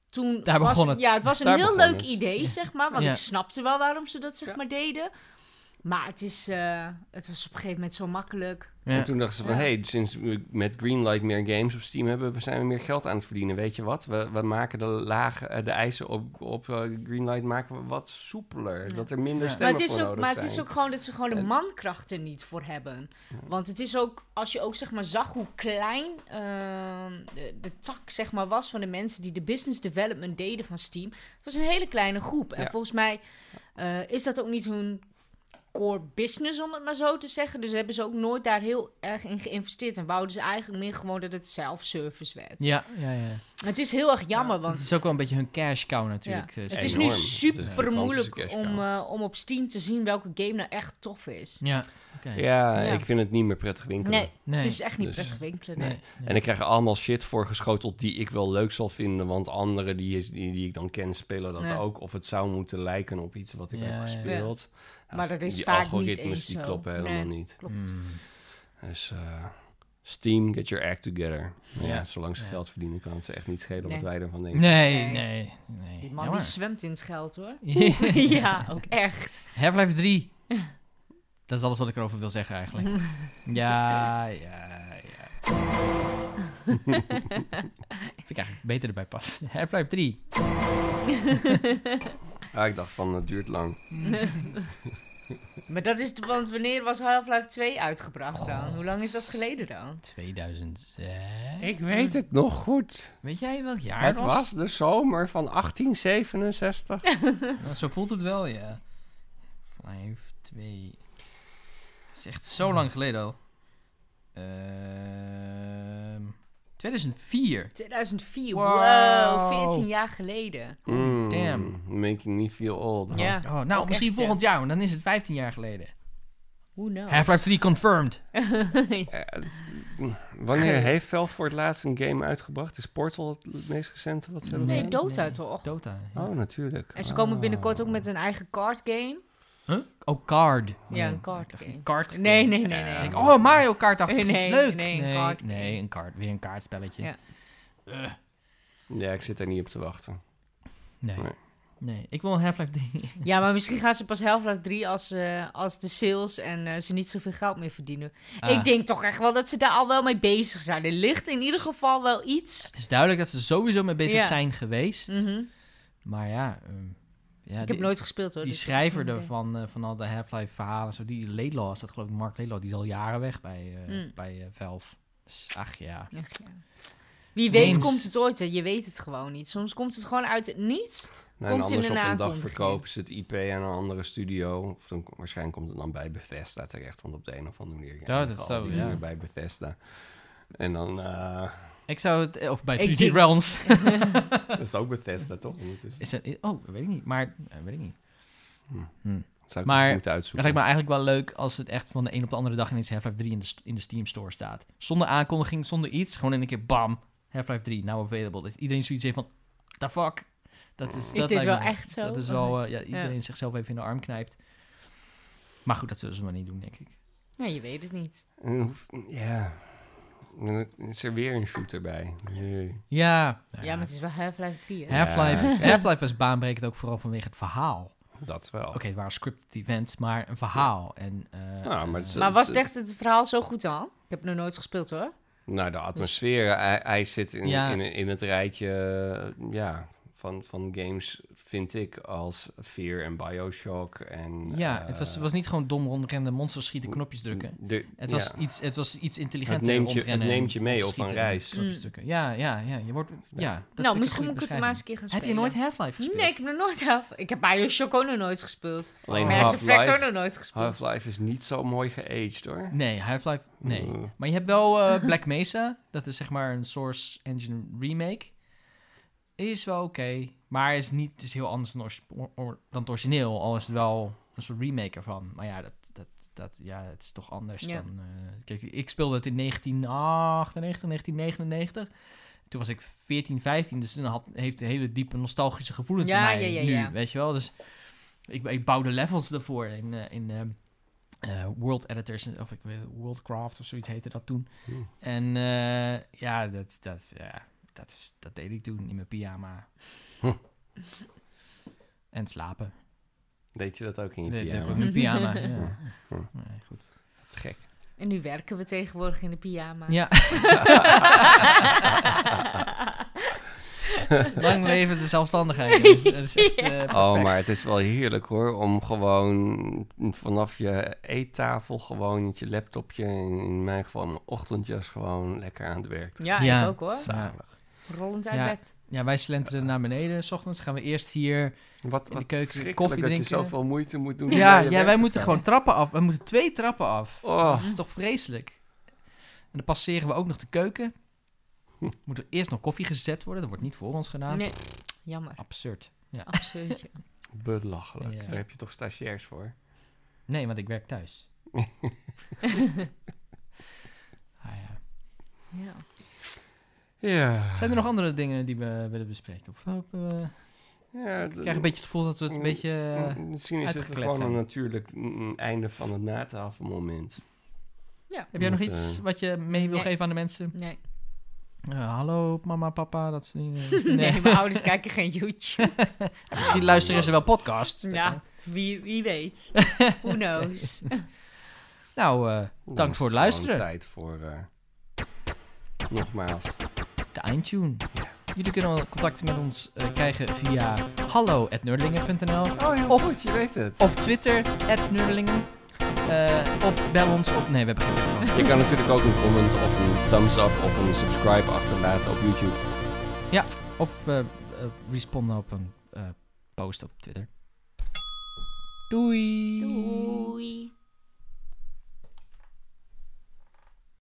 Toen
Daar
was,
begon het.
Ja, het was een
Daar
heel
begon
leuk
het.
idee, zeg maar. Want
Ja.
ik snapte wel waarom ze dat, zeg
Ja.
maar, deden. Maar het, is, eh, het was op een gegeven moment zo makkelijk.
En
Ja.
toen dachten ze van,
Ja.
hey, sinds we met Greenlight meer games op Steam hebben, zijn we meer geld aan het verdienen. Weet je wat? We, we maken de lagen, eh, de eisen op, op eh, Greenlight maken we wat soepeler.
Ja.
Dat er minder
Ja.
stemmen
Maar, het is,
voor
ook,
nodig
maar het
zijn.
is ook gewoon dat ze gewoon de
En-
mankracht er niet voor hebben. Want het is ook, als je ook zeg maar zag hoe klein ehm, de, de tak zeg maar was van de mensen die de business development deden van Steam. Het was een hele kleine groep. En
Ja.
volgens mij eh, is dat ook niet hun core business, om het maar zo te zeggen. Dus hebben ze ook nooit daar heel erg in geïnvesteerd. En wouden ze eigenlijk meer gewoon dat het self-service werd.
Ja, ja, ja.
Het is heel erg jammer, want
Het is ook wel een beetje hun cash cow
ja.
natuurlijk. eh,
het
Steam.
is
enorm.
nu
Het is een
super moeilijk
gigantische cash
om,
cow.
eh, om op Steam te zien welke game nou echt tof is.
Ja, oké.
Ja,
Ja.
ik vind het niet meer prettig winkelen.
Nee,
Nee.
het is echt niet
Dus-
prettig winkelen.
nee,
nee.
nee.
En ik krijg er allemaal shit voor geschoteld die ik wel leuk zal vinden, want anderen die, is- die, die ik dan ken spelen dat
Ja.
ook. Of het zou moeten lijken op iets wat ik
Ja,
heb
ja.
gespeeld. Ja,
Maar dat is
die
vaak niet
algoritmes
eens
die
zo.
kloppen helemaal
Nee.
niet.
Klopt.
Mm.
Dus eh, Steam, get your act together. Nou ja,
Ja.
zolang ze
Ja.
geld verdienen, kan het ze echt niet schelen
Nee.
wat wij ervan denken.
Nee,
Nee.
nee, nee.
Die man die
Jammer.
zwemt in het geld hoor.
Ja.
ja, ook echt.
Half-Life 3. Dat is alles wat ik erover wil zeggen eigenlijk. Ja, ja, ja. Vind ik eigenlijk beter erbij passen. Half-Life 3.
Ah, ik dacht van, het duurt lang.
Maar dat is, de- want wanneer was Half-Life 2 uitgebracht dan? Hoe lang is dat geleden dan?
2006.
Ik weet het nog goed.
Weet jij welk jaar
het was de zomer van 1867.
Nou, zo voelt het wel, ja. 5, 2. Dat is echt zo lang geleden al. Ehm 2004.
2004, wow,
Wow.
14 jaar geleden.
Mm,
Damn.
Making me feel old.
Ja,
Oh,
Ook
nou,
echt,
misschien
ja. Oh.
volgend jaar, want dan is het 15 jaar geleden.
Who knows?
Half-Life 3 confirmed.
Eh, wanneer heeft Valve voor het laatst een game uitgebracht? Is Portal het, het meest recente wat ze hebben
Nee,
Nee,
gedaan?
Dota
nee.
toch?
Dota. ja.
Oh, natuurlijk.
En ze komen
Ah.
binnenkort ook met een eigen card game.
Huh? Oh, card.
Ja, een card game.
Kart.
Nee, nee, nee,
Ja.
nee.
Denk, oh, Mario Kart dacht ik,
Nee,
iets leuk.
nee, een kaart.
nee, een kaart. Weer een kaartspelletje.
Ja.
Eh,
Ja, ik zit daar niet op te wachten.
nee.
Nee.
Nee, ik wil een Half-Life 3.
Ja, maar misschien gaan ze pas Half-Life 3 als, eh, als de sales en eh, ze niet zoveel geld meer verdienen. Ik
Ah.
denk toch echt wel dat ze daar al wel mee bezig zijn. Er ligt in ieder geval wel iets.
Het is duidelijk dat ze er sowieso mee bezig
Ja.
zijn geweest.
Mhm.
Maar ja, ehm, ja
ik
die,
heb nooit gespeeld hoor.
die
dus-
schrijver
idee.
daarvan, eh, van al de Half-Life verhalen, zo, die Laidlaw is dat geloof ik, Mark Laidlaw, die is al jaren weg bij, eh,
Mm.
bij eh, Valve. Dus, ach ja.
Ach, ja. Wie weet
Eens.
komt het ooit, hè? je weet het gewoon niet. Soms komt het gewoon uit het niets.
Nou, en
Komt in
anders
een
op een dag
aankondiging.
verkopen ze het IP aan een andere studio. Of dan, waarschijnlijk komt het dan bij Bethesda terecht. Want op de een of andere manier...
dat
eindigen
zou,
al die
ja.
dingen bij Bethesda. En dan... eh,
Ik zou het, of bij
Ik
3D
denk-
Realms.
dat is ook Bethesda, toch? Ondertussen.
Is dat, oh, weet ik niet. Maar, eh, weet ik niet.
Dat zou ik
Maar-
even moeten
Dat
uitzoeken.
lijkt me eigenlijk wel leuk als het echt van de een op de andere dag ineens Half-Life 3 in de, st- in de Steam Store staat. Zonder aankondiging, zonder iets. Gewoon in een keer bam, Half-Life 3, now available. Dat nou iedereen zoiets heeft van, the fuck? Dat is,
Is
dat
dit
lijkt
wel
me-
echt zo?
Dat is
Oh
wel,
my-
eh, ja, iedereen zichzelf even in de arm knijpt. Maar goed, dat zullen ze maar niet doen, denk ik.
Nee, je weet het niet.
En hoef- Ja. Dan is er weer een shooter bij. Nee.
Ja.
Ja, maar het is wel Half-Life 3, hè?
Ja.
Half-Life Half-Life was baanbrekend ook vooral vanwege het verhaal.
Dat wel.
Oké, het waren scripted events, maar een verhaal. En, eh,
Nou, maar het is-
eh,
Maar was het echt het verhaal zo goed dan? Ik heb het nog nooit gespeeld, hoor.
Nou, de atmosfeer. Hij, hij zit in,
Ja.
in, in het rijtje eh, ja, van, van games, vind ik, als Fear en Bioshock. En,
ja,
eh,
het was, was niet gewoon dom rondrennen, monsters schieten, knopjes drukken.
de-
Het was,
ja.
iets, het was iets
het
intelligenter
neemt, je, het
rondrennen. en
neemt je mee
monsters
op een
schieten en
reis.
knopjes
Mm.
drukken. Ja, ja, ja. Je wordt, ja dat vind ik
nou,
een
misschien
goede
moet ik het maar eens
beschrijving.
een keer gaan
Heb
spelen.
je nooit Half-Life gespeeld?
Nee, ik heb er nooit af. Ik heb Bioshock ook nog nooit gespeeld.
Alleen
Mass Effect ook nog
Half-Life
nooit gespeeld.
Half-Life is niet zo mooi geaged, hoor.
Nee, Half-Life, nee.
Mm.
Maar je hebt wel eh, Black Mesa. Dat is zeg maar een Source Engine remake. Is wel oké, maar is niet is heel anders dan, ors- or- or- dan het origineel. Al is het wel een soort remake ervan. Maar ja, dat, dat, dat, ja het is toch anders
Ja.
dan... eh, kijk, ik speelde het in 1998, 1999. Toen was ik 14, 15, dus toen had, heeft een hele diepe nostalgische gevoelens
Ja,
bij mij
ja, ja,
nu,
ja.
weet je wel. Dus ik, ik bouwde levels ervoor in, eh, in ehm, eh, World Editors, of ik weet Worldcraft of zoiets heette dat toen.
Hmm.
En eh, ja, dat, dat, ja dat, is, dat deed ik toen in mijn pyjama.
Hm.
En slapen.
Deed je dat ook in je
Dat deed ik ook in
pyjama?
mijn pyjama. ja.
Hmm.
Nee, goed.
Te gek.
En nu werken we tegenwoordig in de pyjama.
Ja, lang leven de zelfstandigheid. jongens. Dat is echt, eh,
Oh,
perfect.
maar het is wel heerlijk hoor, om gewoon vanaf je eettafel gewoon met je laptopje, in, in mijn geval mijn ochtendjas, gewoon lekker aan het werk.
ja,
Ja.
ik ook hoor.
Zalig.
Rollend uit
Ja.
bed.
Ja, wij slenteren naar beneden. S ochtends gaan we eerst hier.
Wat,
In de
wat
keuken
verschrikkelijk
koffie
dat je
drinken.
zoveel moeite moet doen. om
Ja,
naar je
ja wij
werk te
moeten
gaan.
gewoon trappen af. We moeten twee trappen af.
Oh,
Dat is toch vreselijk? En dan passeren we ook nog de keuken. Moet er eerst nog koffie gezet worden? Dat wordt niet voor ons gedaan.
Nee, jammer.
Absurd.
Absoluut. ja.
belachelijk.
Ja.
Daar heb je toch stagiairs voor?
Nee, want ik werk thuis. ah, ja.
Ja.
Ja.
Zijn er nog andere dingen die we willen bespreken? Of hopen we...
ja d-
Ik krijg een beetje het gevoel dat we het een
Mm,
beetje... eh,
mm, Misschien is het
uitgekletst
gewoon
zijn.
een natuurlijk mm, einde van het natafelmoment.
Heb jij nog
moet,
iets
eh,
wat je mee wil
Nee.
geven aan de mensen?
Nee.
Eh, hallo, mama, papa, dat soort dingen.
Nee. mijn ouders kijken geen YouTube.
Misschien luisteren ze wel podcast. Dat
ja,
kan.
wie, wie weet. Who knows.
Nou, eh,
Dan is
Dank voor het
gewoon
luisteren.
tijd voor... eh, nogmaals,
de eindtune. Jullie kunnen contact met ons eh, krijgen via hallo.nerdelingen.nl
Oh, heel
Of-
goed, je weet het.
of Twitter, nerdelingen. Eh, of bel ons op... Nee, we hebben geen telefoon.
Je kan natuurlijk ook een comment of een thumbs up of een subscribe achterlaten op YouTube.
Of eh, eh, responden op een eh, post op Twitter. Doei!
Doei.